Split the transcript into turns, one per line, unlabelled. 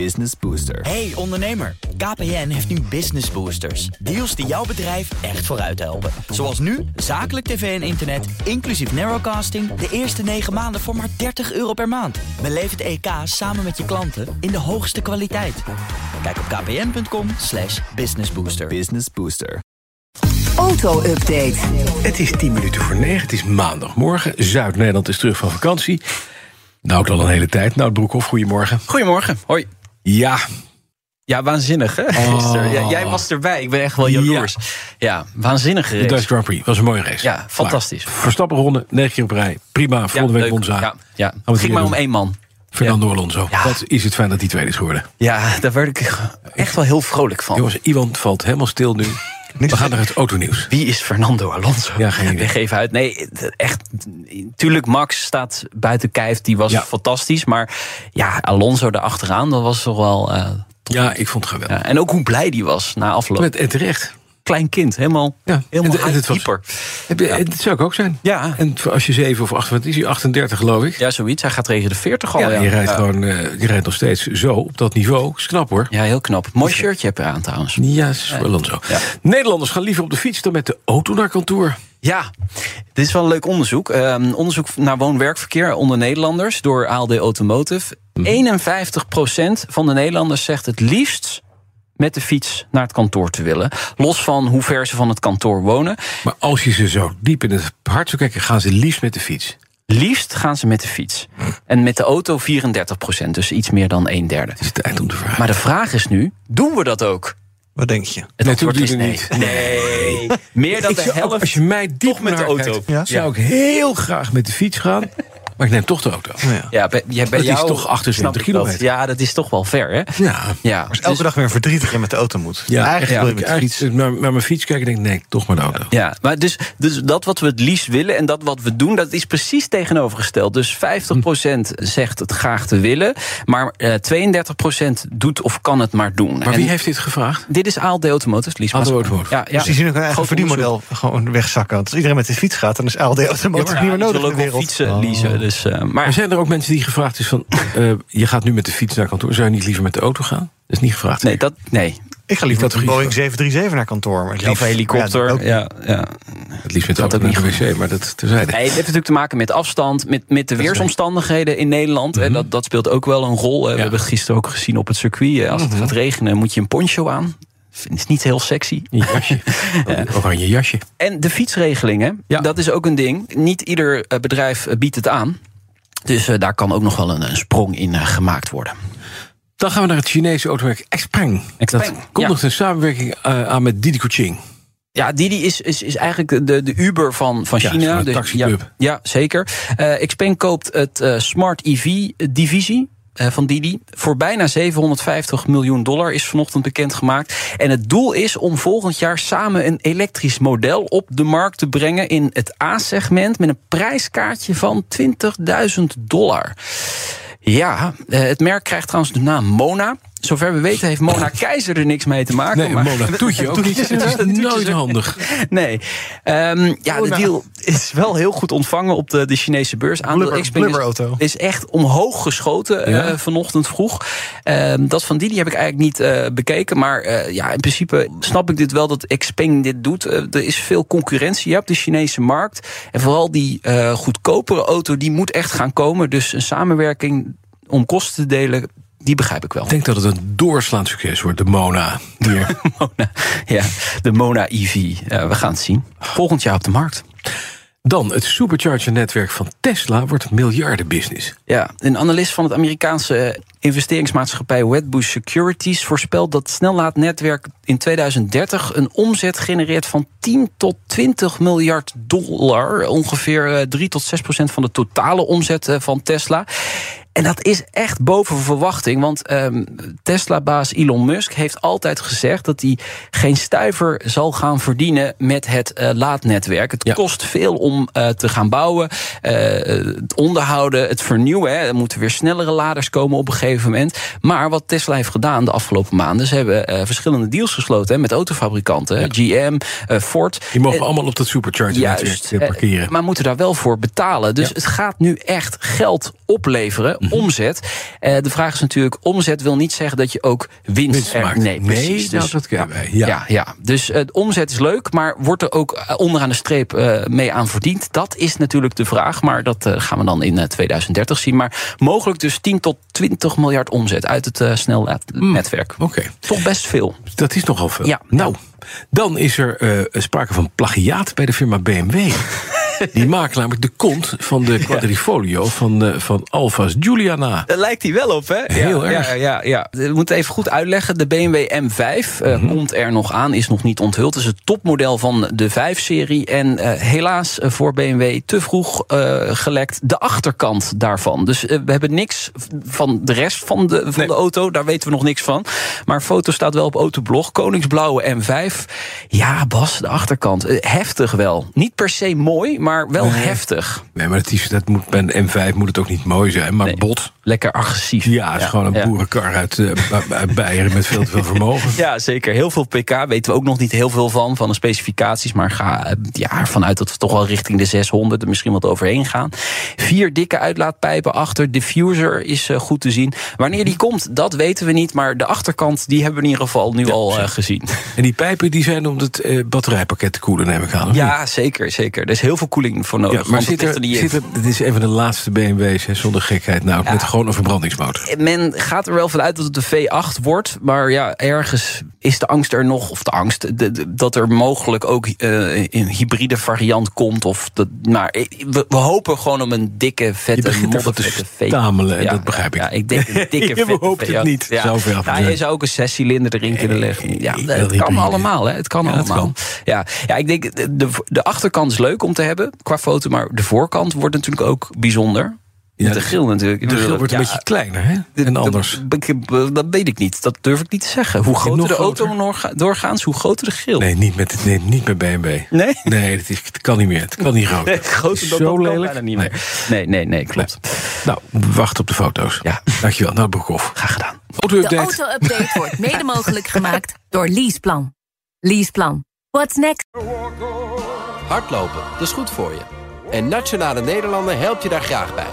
Business Booster.
Hey ondernemer, KPN heeft nu Business Boosters. Deals die jouw bedrijf echt vooruit helpen. Zoals nu, zakelijk tv en internet, inclusief narrowcasting... de eerste 9 maanden voor maar 30 euro per maand. Beleef het EK samen met je klanten in de hoogste kwaliteit. Kijk op kpn.com slash businessbooster.
Business Booster.
Auto-update.
Het is 10 minuten voor 9, het is maandagmorgen. Zuid-Nederland is terug van vakantie. Nou, al een hele tijd. Nou, Broekhoff, goedemorgen.
Goedemorgen. Hoi.
Ja,
Ja, waanzinnig, hè?
Oh.
Gisteren. Ja, jij was erbij. Ik ben echt wel jaloers. Ja, waanzinnig
de Dutch
gereden.
Grand Prix was een mooie race.
Ja, fantastisch.
Maar, Verstappen ronde, 9 keer op rij. Prima,
Ja,
volgende week
leuk.
Monza.
Ja, ja.
we
Het
weer
ging maar
doen.
om één man.
Fernando Alonso.
Ja.
Wat is het fijn dat hij tweede is geworden.
Ja, daar werd ik echt wel heel vrolijk van.
Jongens, iemand valt helemaal stil nu. We gaan naar het autonieuws.
Wie is Fernando Alonso?
Ja, geen idee.
Leg even uit. Nee, echt. Tuurlijk, Max staat buiten kijf. Die was
Ja.
fantastisch. Maar ja, Alonso erachteraan, dat was toch wel... eh,
Ja, ik vond het geweldig.
ja. En ook hoe blij die was na afloop.
Met, en terecht.
klein kind, helemaal,
Ja.
helemaal
En- en het was-
hyper.
Heb je- Dat zou ik ook zijn.
Ja.
En als je 7 of 8, wat is hij? 38 geloof ik.
Ja, zoiets. Hij gaat tegen de 40 al.
Ja, je, rijdt
Ja.
gewoon, eh, je rijdt nog steeds zo op dat niveau. Is knap hoor.
Ja, heel knap. Mooi shirtje heb je aan trouwens.
Ja, is wel dan zo.
Ja.
Nederlanders gaan liever op de fiets dan met de auto naar kantoor.
Ja, dit is wel een leuk onderzoek. Ehm, onderzoek naar woon-werkverkeer onder Nederlanders door ALD Automotive. 51% van de Nederlanders zegt het liefst met de fiets naar het kantoor te willen. Los van hoe ver ze van het kantoor wonen.
Maar als je ze zo diep in het hart zou kijken, gaan ze liefst met de fiets.
Liefst gaan ze met de fiets. En met de auto 34%, dus iets meer dan een derde.
Het is het eind om te vragen.
Maar de vraag is nu, doen we dat ook?
Wat denk je?
Het antwoord is
Natuurlijk
nee.
doen
Nee, meer dan
Ik
de
zou ook, als
helft.
je mij diep
toch
in
met
mijn
de
hart
auto.
kijkt,
Ja.
zou ik heel graag met de fiets gaan. Maar ik neem toch de auto.
Nou ja.
Ja, bij, ja, bij
Dat is
jou
toch 28
snap ik dat.
kilometer.
Ja, dat is toch wel ver, hè?
Ja.
Ja, dus
Als je elke dag weer verdrietig in met de auto moet.
Ja,
eigenlijk
ja,
wil je met de
eigenlijk
fiets.
Naar, naar mijn fiets kijken en denk ik, nee, toch maar de auto.
ja. maar dus, dus dat wat we het liefst willen en dat wat we doen, dat is precies tegenovergesteld. Dus 50% zegt het graag te willen, maar eh 32% doet of kan het maar doen.
Maar
En
wie heeft dit gevraagd?
Dit is ALD Automotive, Lies.
ALD Automotive.
Ja, ja.
Dus die zien ook hun eigen
Groot
verdienmodel gewoon wegzakken. Want als iedereen met de fiets gaat, dan is ALD
onderzoek.
automotive
Ja,
niet meer
die
nodig in
zullen
de
ook wel
wereld.
fietsen,
Oh.
leasen. Dus, eh,
Maar
maar
zijn er ook mensen die gevraagd is van... eh, je gaat nu met de fiets naar kantoor. Zou je niet liever met de auto gaan? Dat is niet gevraagd.
nee, dat, nee.
Ik ga
Ik
liever
had
met een
liever-
Boeing 737 naar kantoor. maar
of
liefst-
een
Ja, ook-
helikopter. Ja, ja.
Het liefst met de
Gaat
auto
ook
naar de wc, maar dat terzijde.
Nee, het heeft natuurlijk te maken met afstand, met, met de weersomstandigheden in Nederland. En dat, dat speelt ook wel een rol. hè.
Mhm.
We
Ja. Mhm.
hebben het gisteren ook gezien op het circuit. eh, Als het gaat regenen, moet je een poncho aan. Het is niet heel sexy.
Een jasje. Een Oranje jasje.
En de fietsregelingen,
Ja.
dat is ook een ding. Niet ieder eh, bedrijf eh, biedt het aan. Dus eh, daar kan ook nog wel een, een sprong in eh, gemaakt worden.
Dan gaan we naar het Chinese automerk Xpeng.
Xpeng,
Dat kondigt een samenwerking eh, aan met Didi Kuching.
Ja, Didi is, is, is eigenlijk de, de Uber van, van
Ja,
China.
is gewoon een
Dus-
taxiclub.
ja, ja, zeker. Eh Xpeng koopt het eh, Smart EV-divisie eh, van Didi. Voor bijna 750 miljoen dollar is vanochtend bekendgemaakt. En het doel is om volgend jaar samen een elektrisch model op de markt te brengen in het A-segment met een prijskaartje van 20.000 dollar. Ja, eh, het merk krijgt trouwens de naam Mona. Zover we weten heeft Mona Keizer er niks mee te maken.
Nee,
maar-
Mona Oh, Toetje ook niet. Dat is nooit handig.
Nee. Ehm, ja, de deal is wel heel goed ontvangen op de, de Chinese beurs. Aandeel
Blubber-
Xpeng is,
blubberauto.
is echt omhoog geschoten
Ja.
eh, vanochtend vroeg. Ehm, dat van die, die heb ik eigenlijk niet eh, bekeken. Maar eh, ja, in principe snap ik dit wel dat Xpeng dit doet. Eh, er is veel concurrentie op de Chinese markt. En vooral die eh, goedkopere auto, die moet echt gaan komen. Dus een samenwerking om kosten te delen, die begrijp ik wel.
Ik denk dat het een doorslaand succes wordt, de Mona. Hier.
Mona, ja, de Mona EV. Ja, we gaan het zien. Volgend jaar op de markt.
Dan, het supercharger-netwerk van Tesla wordt miljardenbusiness.
Ja, een analist van het Amerikaanse investeringsmaatschappij Wedbush Securities voorspelt dat het snellaadnetwerk in 2030 een omzet genereert van 10 tot 20 miljard dollar. Ongeveer eh, 3 tot 6 procent van de totale omzet eh, van Tesla. En dat is echt boven verwachting, want ehm, Tesla-baas Elon Musk heeft altijd gezegd dat hij geen stuiver zal gaan verdienen met het eh, laadnetwerk. Het
Ja.
kost veel om eh, te gaan bouwen, eh, het onderhouden, het vernieuwen. Hè. Er moeten weer snellere laders komen op een gegeven moment. Maar wat Tesla heeft gedaan de afgelopen maanden, ze hebben eh, verschillende deals gesloten hè, met autofabrikanten, hè, GM, eh, Ford.
Die mogen
Eh,
allemaal op dat supercharger-netwerk
Juist,
eh,
eh,
parkeren.
maar moeten daar wel voor betalen. Dus het gaat nu echt geld opleveren
Mhm.
omzet. Eh, de vraag is natuurlijk, omzet wil niet zeggen dat je ook winst,
Winst
er-
maakt.
Nee,
Nee,
precies.
nou,
Dus-
dat kunnen wij, ja.
Ja, ja, dus eh, de omzet is leuk, maar wordt er ook eh, onderaan de streep eh, mee aan verdiend? Dat is natuurlijk de vraag, maar dat eh, gaan we dan in eh, 2030 zien. Maar mogelijk dus 10 tot 20 miljard omzet uit het eh
Mm.
snelnetwerk.
Oké,
Toch best veel.
dat is nogal veel.
Ja.
Nou, dan is er eh, sprake van plagiaat bij de firma BMW. Die maakt namelijk de kont van de quadrifolio van, eh, van Alfa's Juliana.
Daar Eh, lijkt hij wel op, hè?
Heel
ja,
erg.
Ja, ja, ja. Eh, We moeten even goed uitleggen. De BMW M5 eh,
Mhm.
komt er nog aan, is nog niet onthuld. Het is het topmodel van de 5-serie. En eh, helaas eh, voor BMW te vroeg eh, gelekt de achterkant daarvan. Dus eh, we hebben niks v- van de rest van, de, van de auto. Daar weten we nog niks van. Maar foto staat wel op Autoblog. Koningsblauwe M5. Ja, Bas, de achterkant. Eh, heftig wel. Niet per se mooi, maar wel heftig.
Nee, maar dat is, dat moet, bij een M5 moet het ook niet mooi zijn, maar bot.
Lekker agressief.
Ja, het is gewoon een
ja.
boerenkar uit, eh, uit- uit Beieren met veel te veel vermogen.
Ja, zeker. Heel veel pk weten we ook nog niet heel veel van, van de specificaties. Maar ga eh, ja, ervan uit dat we toch wel richting de 600 er misschien wat overheen gaan. Vier dikke uitlaatpijpen achter. Diffuser is eh, goed te zien. Wanneer die komt, dat weten we niet. Maar de achterkant, die hebben we in ieder geval nu al eh, gezien.
En die pijpen die zijn om het eh, batterijpakket te koelen, neem ik aan. of niet?
Ja, zeker, zeker. Er is heel veel koeling voor nodig.
Ja, maar
want
zit
het ligt
er,
er niet in.
zit er, dit is een van de laatste BMW's, hè, zonder gekheid nou, met gewoon een verbrandingsmotor.
men gaat er wel vanuit dat het de V8 wordt. Maar ja, ergens is de angst er nog. Of de angst de- de- dat er mogelijk ook eh, een hybride variant komt. Of dat, maar eh, we, we hopen gewoon om een dikke,
Je
vette,
begint ervan te
moddervette V8.
stamelen, en dat begrijp ik.
Ja, ik denk een dikke,
Je
vette
behoopt het
V8.
niet,
Ja.
zou ver af
Nou,
zijn.
je zou ook een zescilinder erin kunnen leggen. Ja,
eh,
dat
wel
kan
hybride.
allemaal. Hè. Het kan
Ja, dat
allemaal.
kan.
Ja. ja, ik denk de- de, de achterkant is leuk om te hebben qua foto. Maar de voorkant wordt natuurlijk ook bijzonder.
Ja,
Met de grill natuurlijk. Ik
De
bedoel,
grill wordt een
ja,
beetje kleiner, hè?
dit-
En anders.
Dat, dat- dat weet ik niet. Dat durf ik niet te zeggen. Hoe groter
nog
de auto
groter.
noorga- doorgaans, hoe groter de grill.
Nee, niet met, nee, niet met BMW.
Nee?
Nee, dat, is, het kan niet meer. Het kan niet groter.
Nee, groter dan
Zo
dat kan
lelijk?
bijna niet meer. Nee, nee, nee, klopt.
Nou, wacht op de foto's.
Ja.
Dankjewel. Nou, Broekhoff.
Graag gedaan.
De
Auto-update.
auto-update wordt mede mogelijk gemaakt door Leaseplan. Leaseplan. What's next?
Hardlopen, dat is goed voor je. En Nationale Nederlanden helpt je daar graag bij.